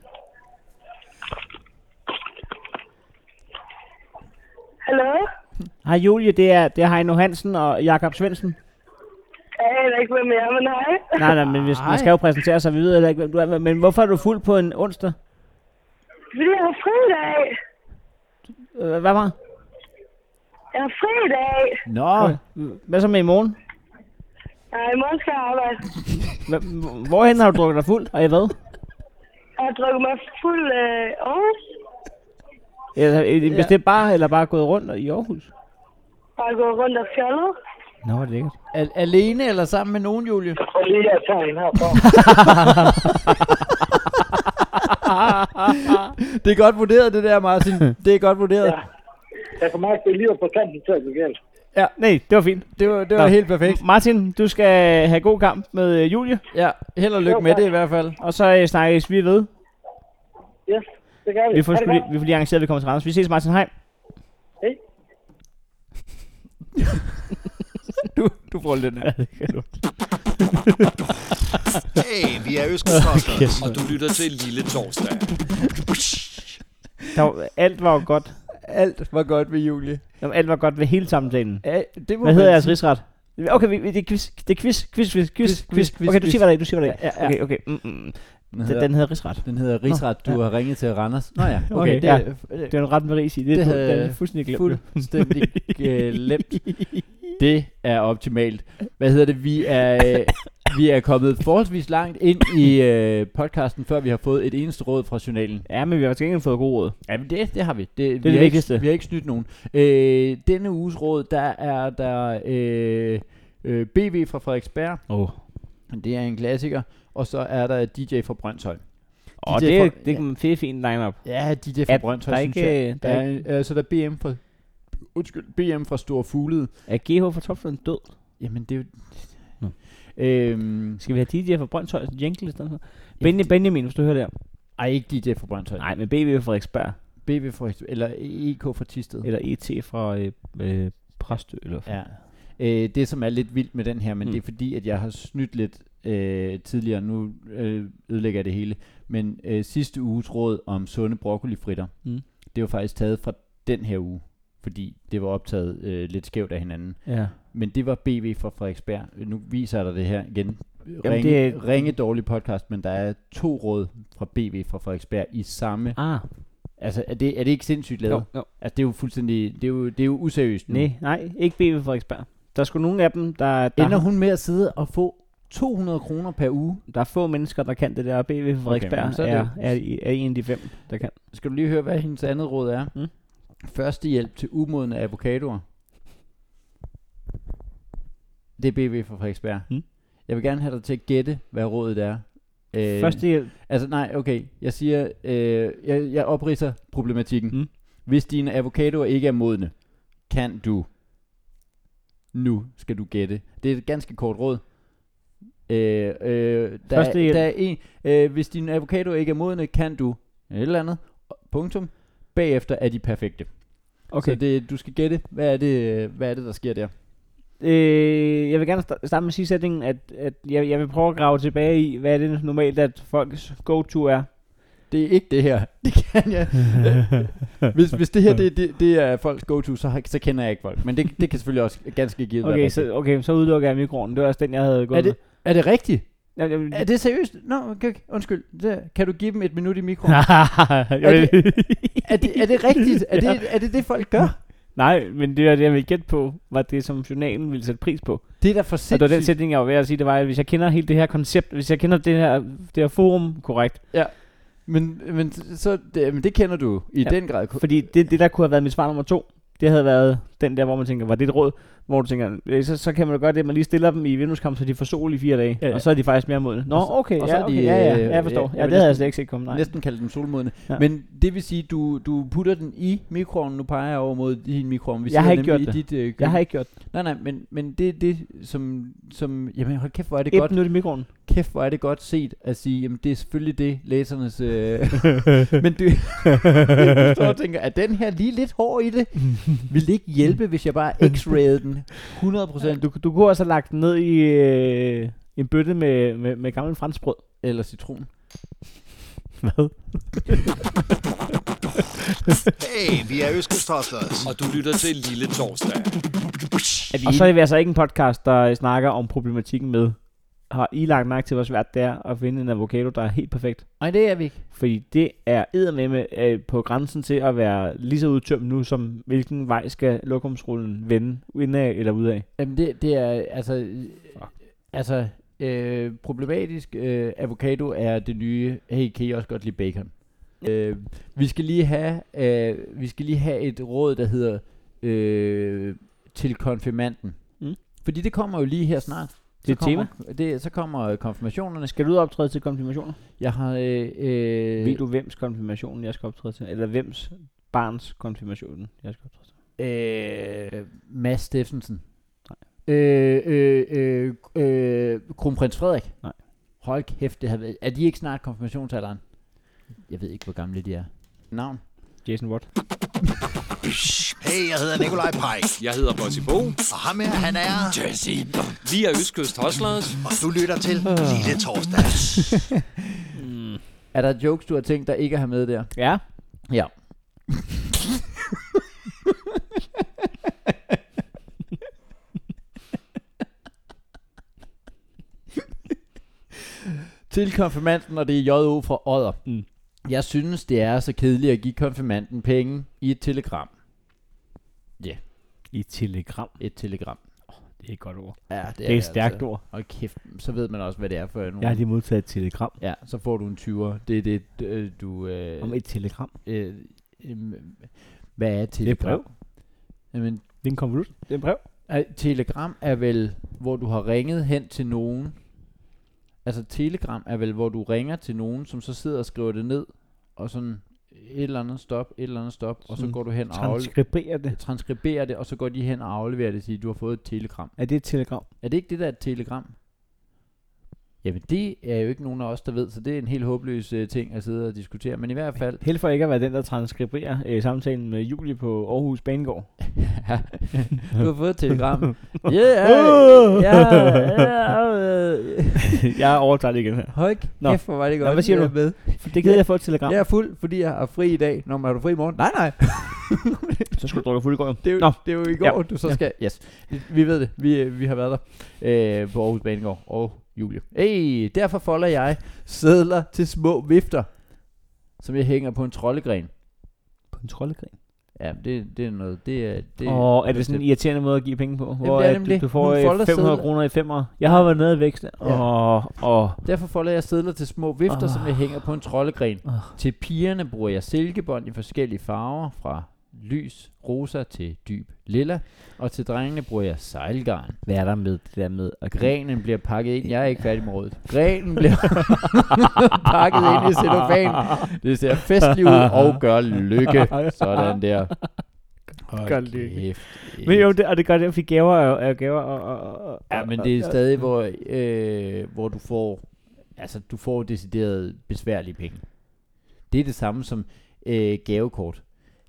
Hallo?
Hej Julie, det er, det er Heino Hansen og Jakob Svendsen.
Jeg aner ikke, hvem jeg er, men hej.
Nej, nej, men hvis, man skal jo præsentere sig, vi ved heller ikke, hvem du er. Men hvorfor er du fuld på en onsdag?
Fordi jeg har fredag.
Øh, Hvad var?
Jeg har fredag.
Nå,
Øh, Hvad så med i morgen?
Nej, i morgen skal jeg arbejde.
Hva- Hvorhen har du drukket dig fuld, og i hvad?
Jeg har drukket mig fuld øh, Aarhus.
Eller, ja. Hvis det er bare, eller bare gået rundt i Aarhus?
Bare gået rundt og fjollet.
Nå, det er lækkert.
al- alene eller sammen med nogen, Julie?
Prøv lige, jeg tager hende herfra.
Det er godt vurderet, det der, Martin. Det er godt vurderet.
Ja. Jeg kan mærke, at det lige var på kanten til at gå galt.
Ja, nej, det var fint.
Det var, det var
Nå.
helt perfekt.
Martin, du skal have god kamp med øh, Julie,
Ja, held og lykke med det i hvert fald.
og så øh, snakkes vi ved.
Yes, det gør vi.
Vi får,
Ha'
sgu
det
lige,
godt.
vi får lige arrangeret, at vi kommer til Randers. Vi ses, Martin. Hej.
Hej.
Du, du får lidt af.
Hey, vi er Øskes Torsdag.
og du lytter til Lille Torsdag.
Der var, alt var jo godt.
Alt var godt ved Julie.
Jamen, Alt var godt ved hele samtalen.
Ja, det må
Hvad hedder
man
jeres
sige.
rigsret? Okay, vi, vi- det er quiz, det er quiz, quiz, quiz, quiz,
quiz,
quiz,
quiz,
Okay, du siger,
quiz.
hvad det er, du siger, hvad det er.
Ja, ja,
Okay,
ja.
okay. Mm, mm.
Den
Den,
hedder,
den hedder rigsret.
den hedder Rigsret, du
ja.
har ringet til Randers. Nå ja, okay.
Okay,
det,
ja.
er- det,
Det er en ret med ris i. Det,
Det
det,
havde
det, det er
jeg
fuldstændig
er
glemt. nu.
fuldstændig glemt. Det er optimalt. Hvad hedder det? Vi er, øh, vi er kommet forholdsvis langt ind i øh, podcasten, før vi har fået et eneste råd fra journalen.
Ja, men vi har til gengæld fået god råd.
Ja, men det, det har vi. Det, det er
det vigtigste.
Ikke, vi har ikke snydt nogen. Øh, denne uges råd, der er der øh, øh, BV fra Frederiksberg.
Åh,
Det er en klassiker. Og så er der DJ fra Brøndshøj.
oh,
DJ
det, er-
for-
det er en fed, fin line-up.
Ja, DJ fra
Er-
Brøndshøj,
Der er
synes
ikke... øh,
jeg.
Der
Der
er,
er, øh, så der er BM fra, undskyld, BM fra Store Fuglede.
er GH fra Topfløden død?
Jamen, det er jo...
Nå.
Øhm,
Skal vi have DJ fra Brøndshøjs jingle i stedet for? Benny, Benjamin, hvis du hører det her.
ej, ikke DJ fra Brøndshøj.
Nej, men BV fra Frederiksberg.
BV fra, eller EK fra Tisted.
Eller ET fra øh, øh, Præstø. Eller
Ja. Øh, det, som er lidt vildt med den her, men mm.
Mm.
det er fordi, at jeg har snydt lidt øh, tidligere. Nu øh, ødelægger jeg det hele. Men øh, sidste uges råd om sunde broccolifritter,
Mm.
det var faktisk taget fra den her uge. Fordi det var optaget øh, lidt skævt af hinanden.
ja.
Men det var BV fra Frederiksberg. Nu viser jeg dig det her igen. Ringe,
det er-
ringe dårlig podcast, men der er to råd fra BV fra Frederiksberg i samme.
Ah,
Altså, er det, er det ikke sindssygt lavet?
jo, jo.
Altså, det er jo fuldstændig... Det er jo, det er jo useriøst nu.
Nej, nej, ikke BV Frederiksberg. Der er sgu nogle af dem, der, der,
Ender hun med at sidde og få 200 kroner per uge?
der er få mennesker, der kan det der, og BV Frederiksberg
men så
okay,
er
er,
det
er, er, er en af de fem, der kan.
Skal du lige høre, hvad hendes andet råd er?
Mm.
Førstehjælp til umodne avocadoer. Det er BV fra Frederiksberg.
Mm.
Jeg vil gerne have dig til at gætte, hvad rådet er. Øh,
Første hjælp.
Altså nej, okay. Jeg siger, øh, jeg, jeg opridser problematikken. Mm.
Mm.
Hvis dine avocadoer ikke er modne, kan du. Nu skal du gætte. Det er et ganske kort råd. Øh, øh, der, er,
Første hjælp.
der er en, øh, hvis dine avocadoer ikke er modne, kan du et eller andet. Punktum. Bagefter er de perfekte. Okay.
Okay.
Så det, du skal gætte, hvad er, det, hvad er det, der sker der?
Øh, jeg vil gerne sta- starte med at sige sætningen, at, at jeg, jeg vil prøve at grave tilbage i, hvad er det normalt, at folks go-to er.
Det er ikke det her. Det kan jeg. hvis, hvis det her det, det, det er folks go-to, så, har- så kender jeg ikke folk. Men det, det kan selvfølgelig også ganske givet være
Okay,
rigtigt.
så, okay, så udelukker jeg mikroen. Det var også den, jeg havde gået
er, det, er det rigtigt?
med. Jeg, jeg,
Er det seriøst? Nå, okay, okay, undskyld. Det, kan du give dem et minut i mikroen?
jeg,
er, det, er det rigtigt? Er det, er det det, folk gør?
Nej, men det var det, jeg ville gætte på, var det, som journalen ville sætte pris på.
Det er da for
Og det var den
sindssygt.
sætning, jeg var ved at sige, det var, at hvis jeg kender hele det her koncept, hvis jeg kender det her, det her forum korrekt,
Men, men, så, det, men det kender du i
Ja.
ja. den grad.
fordi det, det, der kunne have været mit svar nummer to, det havde været den der, hvor man tænker, var det et råd, hvor du tænker, øh, så, så kan man jo gøre det, at man lige stiller dem i vindueskamp, så de får sol i fire dage,
Ja,
ja,
ja.
og så er de faktisk mere modne. Nå,
Og så-
okay,
og så
ja,
er
okay,
de,
ja, ja,
øh,
ja, jeg forstår. Ja,
ja, jeg
det
vil
havde jeg
næsten-
slet ikke set komme, nej.
Næsten kalde dem solmodne.
Ja.
Ja. Men det vil sige, du, du putter den i mikroovnen. Nu peger jeg over mod din mikroovn. Vi
Jeg har
sidder
ikke gjort
nemlig i Dit, øh, køkken.
Jeg har ikke gjort det.
Nej, nej, men, men det er det, som, som... Jamen hold kæft, hvor er det
Et
godt.
minut i mikroen.
Kæft, hvor er det godt set at sige, jamen det er selvfølgelig det, læsernes... Øh, men du, du står og tænker, er den her lige lidt hård i det? Vil det ikke hjælpe, hvis jeg bare x-rayede den 100%
Du, du kunne også have lagt den ned i øh, en bøtte med, med, med gammel franskbrød.
eller citron?
Hvad?
Hey, vi er Øskes
Og du lytter til Lille Torsdag.
Er vi
Og så er det altså ikke en podcast, der snakker om problematikken med, har I lagt mærke til, hvor svært det er at finde en avocado, der er helt perfekt?
Nej, det er vi ikke.
Fordi det er eddermame øh, på grænsen til at være lige så udtømt nu, som hvilken vej skal lokumsrullen vende, indad eller udad.
Jamen det, det er altså... øh, Altså, øh, problematisk øh, avocado er det nye, hey, kan I også godt lide bacon? Øh, vi, skal lige have, øh, vi skal lige have et råd, der hedder øh, til konfirmanden.
Mm.
Mm. Fordi det kommer jo lige her snart.
Det er et
så kommer, Det, så kommer øh, konfirmationerne.
Skal du optræde til konfirmationer?
Jeg har... Øh, øh,
Øh. Ved du, hvems konfirmation jeg skal optræde til? Eller hvems barns konfirmation jeg skal optræde til?
Øh, Mads Steffensen. Nej. Øh, øh, øh, øh, Kronprins Frederik.
Nej.
Hold kæft, det har været. Er de ikke snart konfirmationsalderen? Jeg ved ikke, hvor gamle de er. Navn?
Jason Watt.
Hey, jeg hedder Nikolaj Pajk.
Jeg hedder Bossy Bo.
Og ham her, han er...
Vi er Østkyst Hoslers.
Og du lytter til
Ah.
Lille Torsdag.
Er der jokes, du har tænkt dig ikke at have med der?
Ja.
Ja. Til konfirmanden, og det er J.O. fra Odder.
Mm.
Jeg synes, det er så kedeligt at give konfirmanden penge i et telegram.
I telegram.
Et telegram.
Det er et godt ord.
Ja, altså. det,
Det er et stærkt ord.
Og kæft, så ved man også, hvad det er for en
Jeg har lige modtaget et telegram.
Ja, så får du en 20'er. Det er det, øh, du... Øh,
Om et telegram.
øh, øh, hvad
Det er
er et
et
telegram?
brev.
Jamen,
Det er en konvolut. Det er en brev.
Ej, telegram er vel, hvor du har ringet hen til nogen. Altså telegram er vel, hvor du ringer til nogen, som så sidder og skriver det ned, og sådan et eller andet stop, et eller andet stop, og så
Sådan
går du hen og afleverer
Transkriberer det.
transkriberer det, og så går de hen og afleverer det og siger, du har fået et telegram.
Er det et telegram?
Er det ikke det, der er et telegram? Jamen det er jo ikke nogen af os, der ved, så det er en helt håbløs øh, ting at sidde og diskutere, men i hvert fald,
Held for ikke at være den, der transkriberer øh, samtalen med Julie på Aarhus Banegård.
du har fået et telegram. Ja, yeah, yeah, yeah.
jeg overtager det igen her.
Høj,
Nå.
kæft, hvor var det
Nå,
godt.
hvad siger
jeg
du?
er Med.
Det gider jeg få et telegram.
Jeg er fuld, fordi jeg har fri i dag. Nå, men er du fri i morgen? Nej, nej.
Så skal du drukke fuld i går. jo.
Det er jo,
Nå.
det er jo i går, ja. du så skal... Yes. Vi ved det. Vi, øh, vi har været der øh, på Aarhus Banegård og Julie. Hey, derfor folder jeg sædler til små vifter, som jeg hænger på en troldegren.
På en troldegren.
Ja, det, det er noget... Det er, det
Og er det sådan en irriterende måde at give penge på? Hvor
det er
at
nemlig.
du, du får
Hun
øh,
folder
500
sedler.
kroner i femmer. Jeg har været nede i vækst. Og, og
Derfor folder jeg sædler til små vifter, oh. som jeg hænger på en troldegren.
Ah.
Oh. Til pigerne bruger jeg silkebånd i forskellige farver, fra lys rosa til dyb lilla. Og til drengene bruger jeg sejlgarn.
hvad er der med det der med at
Grenen bliver pakket ind. Jeg er ikke færdig med rådet. Grenen bliver pakket ind i cellofan. Det ser festligt ud og gør lykke. Sådan der. Hold
Gør lykke.
Kæft,
Men jo, det, og det gør det, fordi gaver er, jo- er jo gaver. Og, og, og,
Ja, men det er stadig, hvor, øh, hvor du får, altså, du får decideret besværlige penge. Det er det samme som øh, gavekort.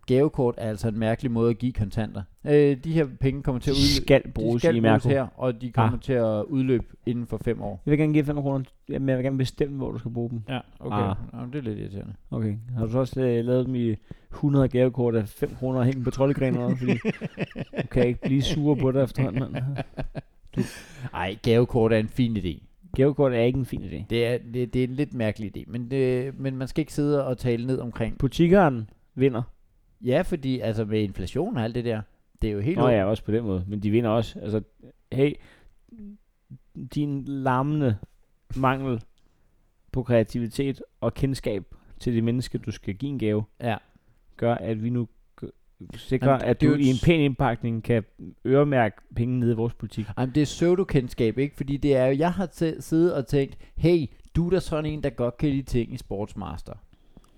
Gavekort er altså en mærkelig måde at give kontanter. Øh, de her penge kommer til at
De
udløbe,
skal bruges
de skal
i
bruges
Mærko.
her, og de kommer ah. til at udløbe inden for fem år.
Jeg vil gerne give 5 kroner, ja, men jeg vil gerne bestemme, hvor du skal bruge dem.
Ja, okay. Ah. Jamen, det er lidt irriterende.
Okay. Har du så også øh, lavet dem i 100 gavekort af 5 kroner og hængt på troldegrenen også, fordi du kan ikke blive sur på dig efterhånden, mand.
Ej, gavekort er en fin idé.
Gavekort er ikke en fin idé.
Det er, det, det er en lidt mærkelig idé, men, det, men man skal ikke sidde og tale ned omkring.
Butikkeren vinder.
Ja, fordi altså med inflation og alt det der, Det er jo helt
Nå
åbent.
ja, også på den måde. Men de vinder også. Altså, hey, din larmende mangel på kreativitet og kendskab til det menneske, du skal give en gave,
Ja.
gør, at vi nu g- sikrer,
Jamen,
at
det er
du
jo
i en
et-
pæn indpakning kan øremærke penge nede i vores politik.
Ej, men det er pseudokendskab, ikke? Fordi det er jo, jeg har tæ- siddet og tænkt, hey, du er da sådan en, der godt kan lide ting i Sportsmaster.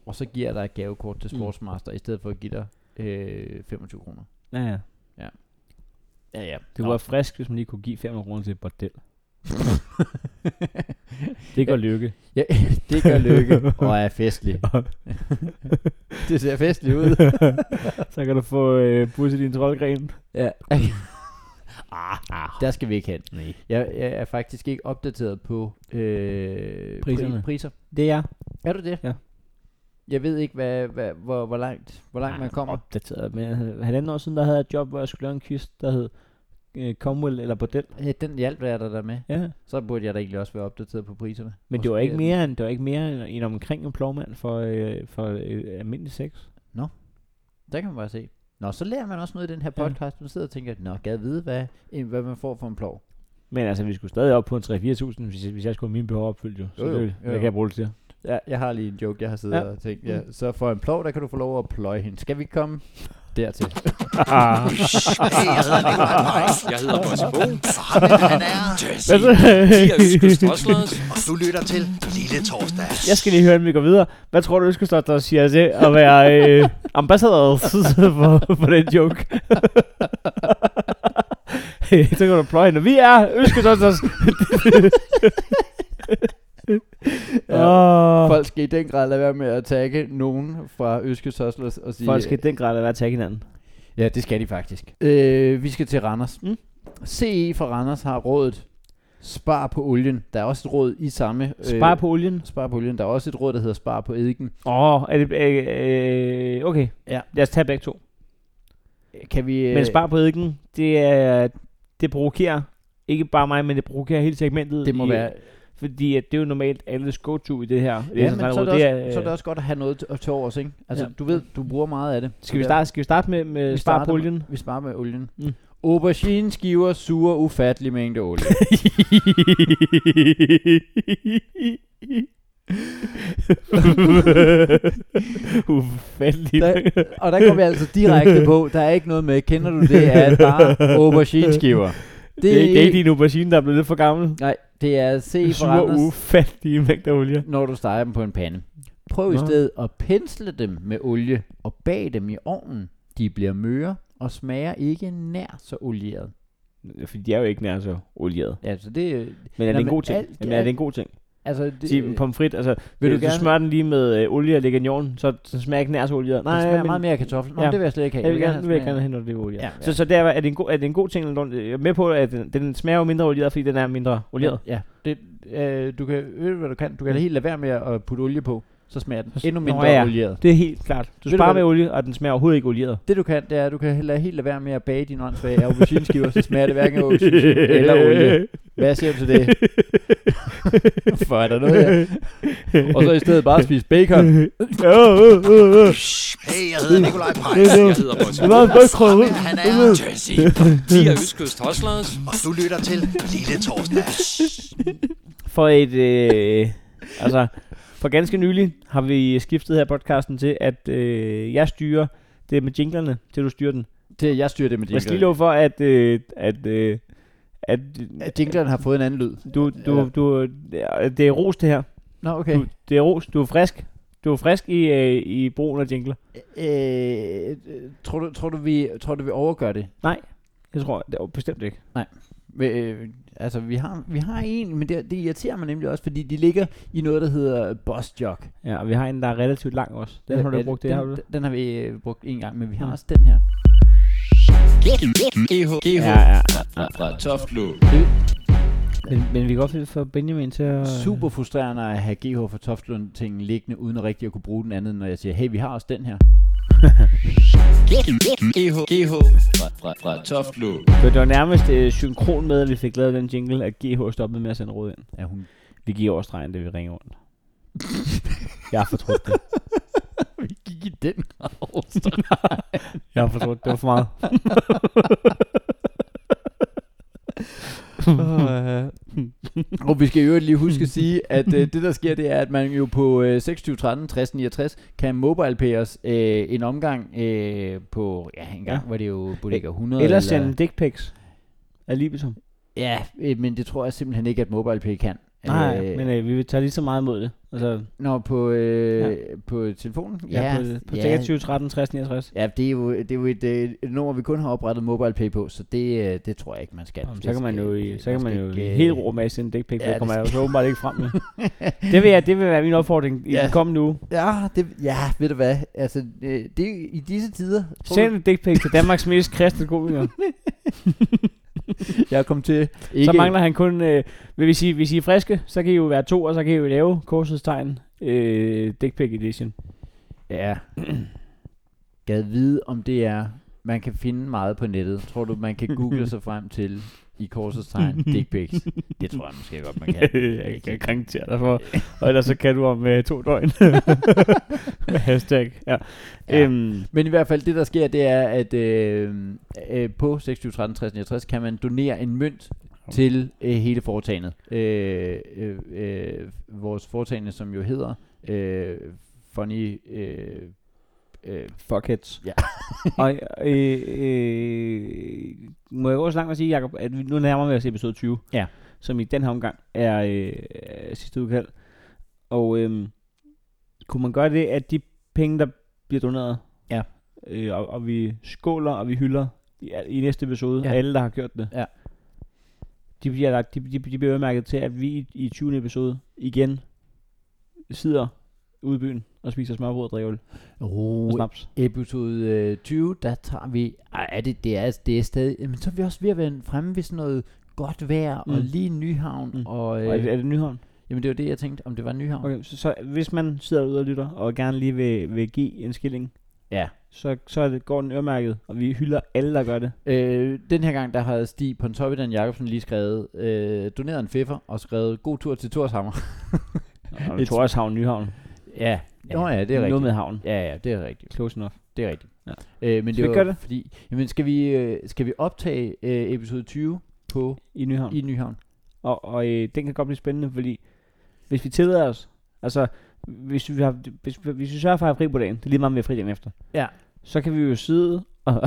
Og så giver jeg dig et gavekort til
Mm.
Sportsmaster, mm. i stedet for at give dig øh, 25 kroner.
Ja, ja.
Ja, ja.
Det
Nå.
kunne være frisk, hvis man lige kunne give 500 kroner til et bordel. Det går lykke.
ja, det gør lykke og er festlig. det ser festligt ud.
Så kan du få øh, busset din troldgren.
Ja. ah, ah, der skal vi ikke hen. Nej. Jeg, jeg er faktisk ikke opdateret på øh,
Priserne.
Pri- priser.
Det er
Er du det?
Ja.
Jeg ved ikke, hvad, hvad, hvor, hvor langt, hvor langt man kommer.
opdateret. Men øh, halvanden år siden, der havde jeg et job, hvor jeg skulle lave en quiz, der hed øh, Comwell eller Bordel.
Ja, Øh, den hjalp jeg dig der med.
Ja.
Så burde jeg da egentlig også være opdateret på priserne.
Men
Og
det var
så
ikke
bliver
mere end, det var ikke mere end, end omkring en plovmand for, øh, for øh, almindelig sex.
den- Der kan man bare se. Nå, så lærer man også noget i den her
Ja.
podcast. Man sidder og tænker, nå, gad vide, hvad, en- hvad man får for en plov.
Men altså, vi skulle stadig op på en 3-4.000, hvis, jeg- hvis jeg skulle have mine behov opfyldt jo. Så
Jo, jo,
det,
jo,
hvad
jo.
kan jeg bruge det til?
Ja, jeg har lige en joke, jeg har siddet
Ja.
og tænkt, ja, så for en plov, der kan du få lov at pløje hende. Skal vi komme dertil?
Ah.
Hey, jeg hedder Nikolaj Pajk.
Jeg hedder Bossy Bo.
Og ham her, han er... Jesse.
De er Øskes Toslers.
Og du lytter til Lille Torsdag.
Jeg skal lige høre, inden vi går videre. Hvad tror du, du skal stå der og siger til at være øh, ambassadør for, for den joke? så kan du pløje hende. Vi er Øskesonsters. Åh,
Folk skal i den grad lade være med at tagge nogen fra Øske Soslers og sige...
Folk skal i den grad lade være at tage hinanden.
Ja, det skal de faktisk. Øh, vi skal til Randers.
Mm.
CE fra Randers har rådet Spar på olien. Der er også et råd i samme... øh,
Spar på olien.
Spar på olien. Der er også et råd, der hedder spar på eddiken.
Åh, oh, er det... Øh, øh, okay.
Ja.
Lad os tage begge to.
Øh, Kan vi... øh,
Men spar på eddiken, det er... Det provokerer ikke bare mig, men det provokerer hele segmentet.
Det må
i-
være...
Fordi at det er jo normalt alles go-to i det her. Det
Ja,
sådan,
men så
at
er det,
det
også,
er, øh,
så er det også godt at have noget at tage over, ikke? Altså,
Ja.
du ved, du bruger meget af det.
Skal vi
Ja.
starte, skal vi starte med, med
Vi starter med-
sparpuljen?
Vi sparer med olien.
Mm.
Mm. Aubergine skiver suger ufattelig mængde olie.
Ufattelig.
Der, og der går vi altså direkte på. Der er ikke noget med, kender du det, at bare aubergine skiver. Det,
Det, er- det er ikke din aubergine, der er blevet lidt for gammel.
Nej, det er se for
Sur
Anders,
ufattelige mængder olie.
når du steger dem på en pande. Prøv i
Nå.
stedet at pensle dem med olie og bag dem i ovnen. De bliver møre og smager ikke nær så olieret.
Fordi de er jo ikke nær så olieret.
Altså det,
Men er
Nå,
det en
men
god ting?
alt-
Jamen, er det en god ting?
altså
Sige, en
det,
pomfrit, altså,
vil
vil
du
du,
gerne-
du smører den lige med øh, olie og lægger så, så smager ikke nær så olieret.
Nej,
Nej,
det smager
men-
meget mere af kartoffel. Nå,
Ja.
ja. det vil jeg slet ikke have.
Jeg vil gerne,
have
vil jeg
smag-
gerne have noget oliven. Ja.
Ja,
Ja. Så, så der er, er, det en god, er det en god ting, eller dårlig- jeg er med på, at den, den smager jo mindre olieret, fordi den er mindre olieret.
Ja, det, øh, du kan, ved du hvad du kan? Du kan da helt lade være med at putte olie på, så smager den endnu
Nå,
mindre
ja.
olieret.
Det er helt klart. Du
Ved du
sparer
hvad-
med olie, og den smager overhovedet ikke olieret.
Det du kan, det er, at du kan lade helt lade være med at bage din åndssvage aubergineskiver, så smager det hverken af aubergine eller olie. Hvad siger du til det? For er der noget her? Og så i stedet bare spise bacon.
Hey, jeg hedder Nikolaj Pajk.
Jeg hedder Bossy Bo.
Og ham her, han er... Jesse.
De er Østkyst Toslers.
Og du lytter til Lille Torsdag.
For et... Øh, altså, for ganske nylig har vi skiftet her podcasten til, at øh, jeg styrer det med jinglerne, til du styrer den.
Det, jeg styrer det med
Jeg skal lige
jinglerne.
love for, at... Øh, at øh, at øh,
At jinglerne har fået en anden lyd.
du, du, du, det er ros det her.
Nå, okay.
Du, det er ros. Du er frisk. Du er frisk i, øh, i brugen af jingler.
Øh, øh, tror, du, tror, du, vi, tror du, vi overgør det?
Jeg tror det er bestemt ikke.
Men, øh, altså, vi har, vi har en, men det, det irriterer mig nemlig også, fordi de ligger i noget, der hedder Bossjok.
Ja, og vi har en, der er relativt lang også. Den har du ikke brugt, det
den,
har du det?
Den har vi øh, brugt en gang, men vi har
Mm.
også den her.
Ja, ja.
Fra Toftlund.
Men, men vi kan godt få Benjamin til at...
Super frustrerende at have GH for Toftlund ting liggende, uden at rigtig at kunne bruge den anden, når jeg siger, hey, vi har også den her.
GH. GH. Fra, fra, fra Toftlund.
Det var nærmest øh, synkron med, at vi fik lavet den jingle, at GH stoppede med at sende råd ind.
Er hun?
Vi giver over stregen, det vi ringer rundt. Jeg har fortrudt det.
vi gik i den grav. så-
Jeg har forstået, det var for meget.
Og vi skal i øvrigt lige huske at sige, at øh, det der sker, det er, at man jo på øh, 26, 13, 60, 69 kan mobile os øh, en omgang øh, på, ja, en gang
Ja. E-
ja. var det jo Bodega 100.
Ellers sende dick pics. Af Libitum.
Ja, øh, men det tror jeg simpelthen ikke, at MobilePay kan.
Nej, øh, men øh, vi vil tage lige så meget imod det. Altså,
Når på, øh, ja. på telefonen?
ja, ja, på, på ja. 20, 13, 60, 69.
Ja, det er jo, det er jo et, øh, et nummer, vi kun har oprettet MobilePay på, så det, øh, det tror jeg ikke, man skal.
Jamen, så kan man jo, i, så kan man jo i
ikke, øh,
helt rum af sende dick pics,
ja,
ja, det
det
kommer jeg jo
skal-
så åbenbart ikke frem med. det, vil jeg, det vil være min opfordring i
Ja.
den kommende uge.
Ja, det, ja, ved du hvad? Altså, øh, det, er i disse tider... tror
Send en dick pic til Danmarks mest kristne komiker.
du- Jeg er kommet til... Ikke,
Så mangler han kun, øh, vil vi sige, hvis I er friske, så kan I jo være to, og så kan I jo lave korsets tegn øh, dick pic edition.
Ja. Gad vide, om det er... Man kan finde meget på nettet. Tror du, man kan google sig frem til i korsets tegn dick pics? Det tror jeg måske godt, man kan.
jeg kan garantere dig for. Og ellers så kan du om øh, to døgn. Med hashtag. Ja.
Ja.
ja. Øhm,
Men i hvert fald det der sker Det er at øh, øh, På 26, 13, 60, 69 Kan man donere en mønt Til øh, hele foretagendet øh, øh, øh, Vores foretagende som jo hedder øh, Funny øh, øh,
Fuckheads.
Ja.
og øh, øh, må jeg gå så langt med at sige, Jacob, at vi nu nærmer vi os episode 20.
Ja.
Som i den her omgang er øh, er sidste udkald. Og øh, kunne man gøre det, at de penge, der bliver doneret,
Ja.
øh, og, og vi skåler og vi hylder i, i næste episode,
Ja.
ja. alle, der har gjort det,
Ja.
de bliver, lagt, de, de, de bliver øremærket til, at vi i, i 20. episode igen sidder ude i byen og spiser smørbrød og drikker øl og
oh,
snaps.
Episode øh, 20 Der tager vi Ej, er det, det, er, det er stadig Men så er vi også ved at være fremme ved sådan noget Godt vejr mm. og
Mm.
lige Nyhavn mm.
Mm.
og,
Og er, det,
øh,
er det Nyhavn?
Jamen det var det jeg tænkte Om det var Nyhavn okay.
Okay, så, så hvis man sidder derude og lytter, og gerne lige vil, vil give en skilling,
Ja
så, så er det, går den øremærket, og vi hylder alle, der gør det.
Øh, den her gang, der har Stig Pontoppidan Jacobsen lige skrevet, øh, doneret en fiffer og skrevet, god tur til Torshammer.
Og Torshavn, Nyhavn.
ja, Nå ja, det er
Noget
rigtigt.
med havn.
Ja, ja, det er rigtigt.
Close enough.
Det er rigtigt.
Ja.
Øh, men
Skal
det
vi
var,
gøre det?
Fordi, jamen, skal vi, øh, skal vi optage øh, episode 20 på
I Nyhavn.
i Nyhavn?
Og, og øh, den kan godt blive spændende, fordi hvis vi tillader os, altså hvis vi, har, hvis, hvis vi sørger for at have fri på dagen, det er lige meget, om vi har fri dagen efter,
Ja.
så kan vi jo sidde og,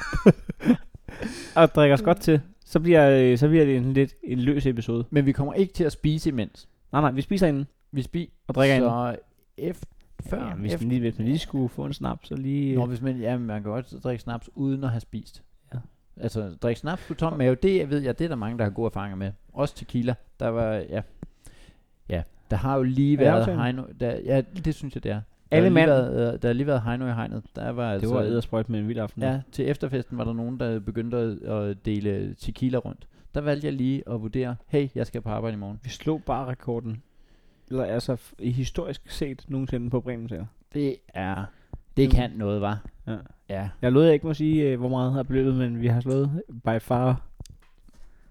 og drikke os godt til. Så bliver, øh, så bliver det en lidt en løs episode.
Men vi kommer ikke til at spise imens.
Nej, nej, vi spiser inden.
Vi spiser
Og drikker
så efter, før,
Ja,
ja,
hvis,
efter,
man lige, hvis man lige skulle få en snaps, så lige...
Nå, hvis man, ja, man kan godt drikke snaps uden at have spist. Ja.
Ja.
Altså, drikke snaps på tom mave, det ved jeg, det er der mange, der har gode erfaringer med. Også tequila, der var, ja. Ja, der har jo lige
Er det
været
aftalen?
Heino, der, ja, det synes jeg, det er. Der
Alle
har lige
mand.
været, øh, Der har lige været Heino i hegnet. Der var
det
altså,
var ædersprøjt med en vild aften.
Ja, til efterfesten var der nogen, der begyndte at, at dele tequila rundt. Der valgte jeg lige at vurdere, hey, jeg skal på arbejde i morgen.
Vi slog bare rekorden. Eller altså f- i historisk set nogensinde på Bremen Teater.
Det er, det
Mm.
kan noget, var.
Ja.
Ja,
Jeg lod jeg ikke må sige, øh, hvor meget har beløbet, men vi har slået by far.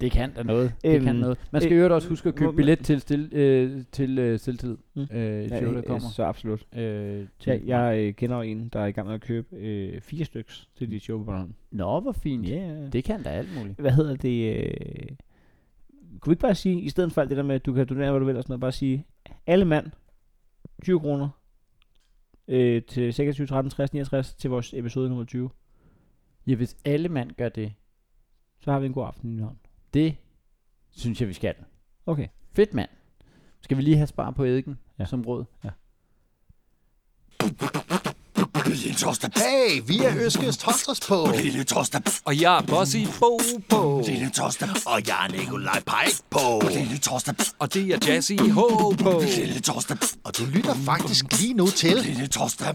Det kan da noget. Det
Øhm,
kan noget. Man skal
øh,
i øvrigt også huske at købe
må-
billet til, stille, øh, til øh, selvtid. Mm.
Mm.
Øh, ja, der kommer.
så absolut.
Øh,
Ja,
til.
jeg øh, kender jo en, der er i gang med at købe øh, fire styks til dit show på Bornholm.
Nå, hvor fint. Yeah.
Yeah.
Det kan da alt muligt.
Hvad hedder det? Øh, kunne vi ikke bare sige, i stedet for alt det der med, at du kan donere, hvad du vil og sådan noget, bare sige, alle mand, 20 kroner, øh, til 26, 13, 60, 69, til vores episode nummer 20.
Ja, hvis alle mand gør det,
Så har vi en god aften i Nyhavn.
det synes jeg, vi skal.
Okay.
Fedt mand. Skal vi lige have spar på eddiken ja.
Ja.
som råd?
Lille torsdag.
Hey, vi er Øskes Tosters på.
Lille torsdag.
Og jeg er boss i Bo Bo.
Lille torsdag.
Og jeg er Nikolaj Pajk på.
Lille torsdag.
Og det er jazz i Ho Bo.
Lille torsdag.
Og du lytter faktisk lige nu til.
Lille torsdag.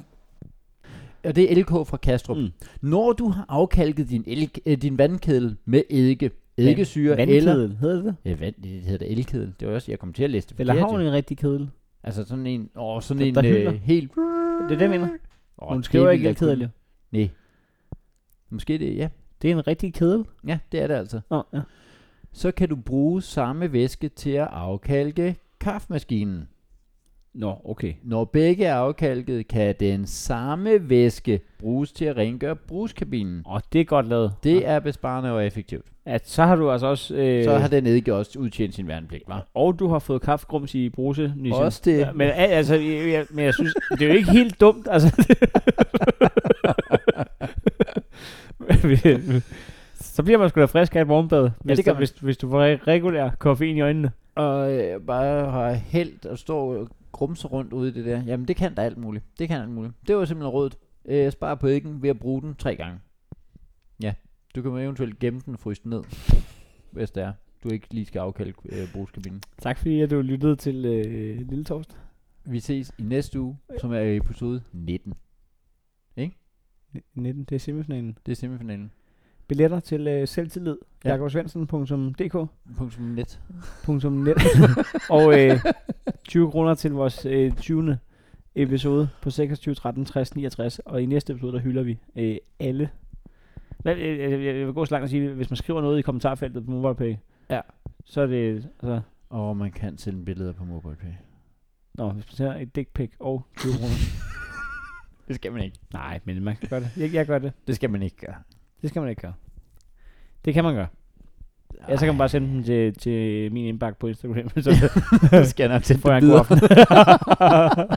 Og det er LK fra Kastrup. Mm. Når du har afkalket din, elk, øh, din vandkedel med eddike, eddikesyre eller...
Vandkedel, hedder det?
Ja, vand, det hedder da elkedel. Det var også, jeg kom til at læse det
Eller
forkert,
har hun
jo.
en rigtig kedel?
Altså sådan en, åh, sådan
Der-
en
der hylder.
øh, helt...
Det er det, jeg mener.
Åh,
Hun
det
skriver
ville
ikke
da kunne-
kedel, jo.
Nej. Måske det, ja.
Det er en rigtig kedel.
Ja, det er det altså.
Nå, ja.
Så kan du bruge samme væske til at afkalke kaffemaskinen.
Nå, okay.
Når begge er afkalket, kan den samme væske bruges til at rengøre bruskabinen.
Åh, det er godt lavet.
Det er besparende og effektivt.
Ja, så har du altså også... Øh,
Så har den eddike også udtjent sin værnepligt, var.
Og du har fået kaffegrums i bruse, Nissen.
Også det.
Ja, men, al- altså, jeg, jeg, men jeg synes, det er jo ikke helt dumt. Altså. så bliver man sgu da frisk af et morgenbad, hvis,
det
ja,
gør
det
man.
hvis, hvis du får regulær koffein i øjnene.
Og øh, bare har hældt og står og grumser rundt ude i det der. Jamen, det kan da alt muligt. Det kan alt muligt. Det var simpelthen rådet. Øh, jeg sparer på æggen ved at bruge den tre gange. Ja, du kan jo eventuelt gemme den og fryse den ned, hvis det er. Du ikke lige skal afkalke øh, brugskabinen.
Tak fordi at du lyttede til øh, Lille Torsdag.
Vi ses i næste uge, som er episode 19.
19, det er semifinalen.
Det er semifinalen.
Billetter til øh, selvtillid. Ja.
Ja.
jakobsvendsen.dk.net
Punkt net.
Og øh, 20 kroner til vores øh, 20. episode på 26, 13, 60, 69. Og i næste episode, der hylder vi øh, alle. Hvad, øh, jeg, jeg vil gå så langt og sige, hvis man skriver noget i kommentarfeltet på MobilePay,
Ja.
så er det... Altså,
Og man kan sende billeder på MobilePay.
nå, hvis man sender et dick pic og 20 kroner.
Det skal man ikke.
Nej, men man kan gøre det. Jeg, jeg gør det.
Det skal man ikke gøre.
Det skal man ikke gøre. Det kan man gøre. Ja, så kan man bare sende den til, til min indbakke på Instagram, så
det skal jeg nok sende
får jeg en god
videre.
aften.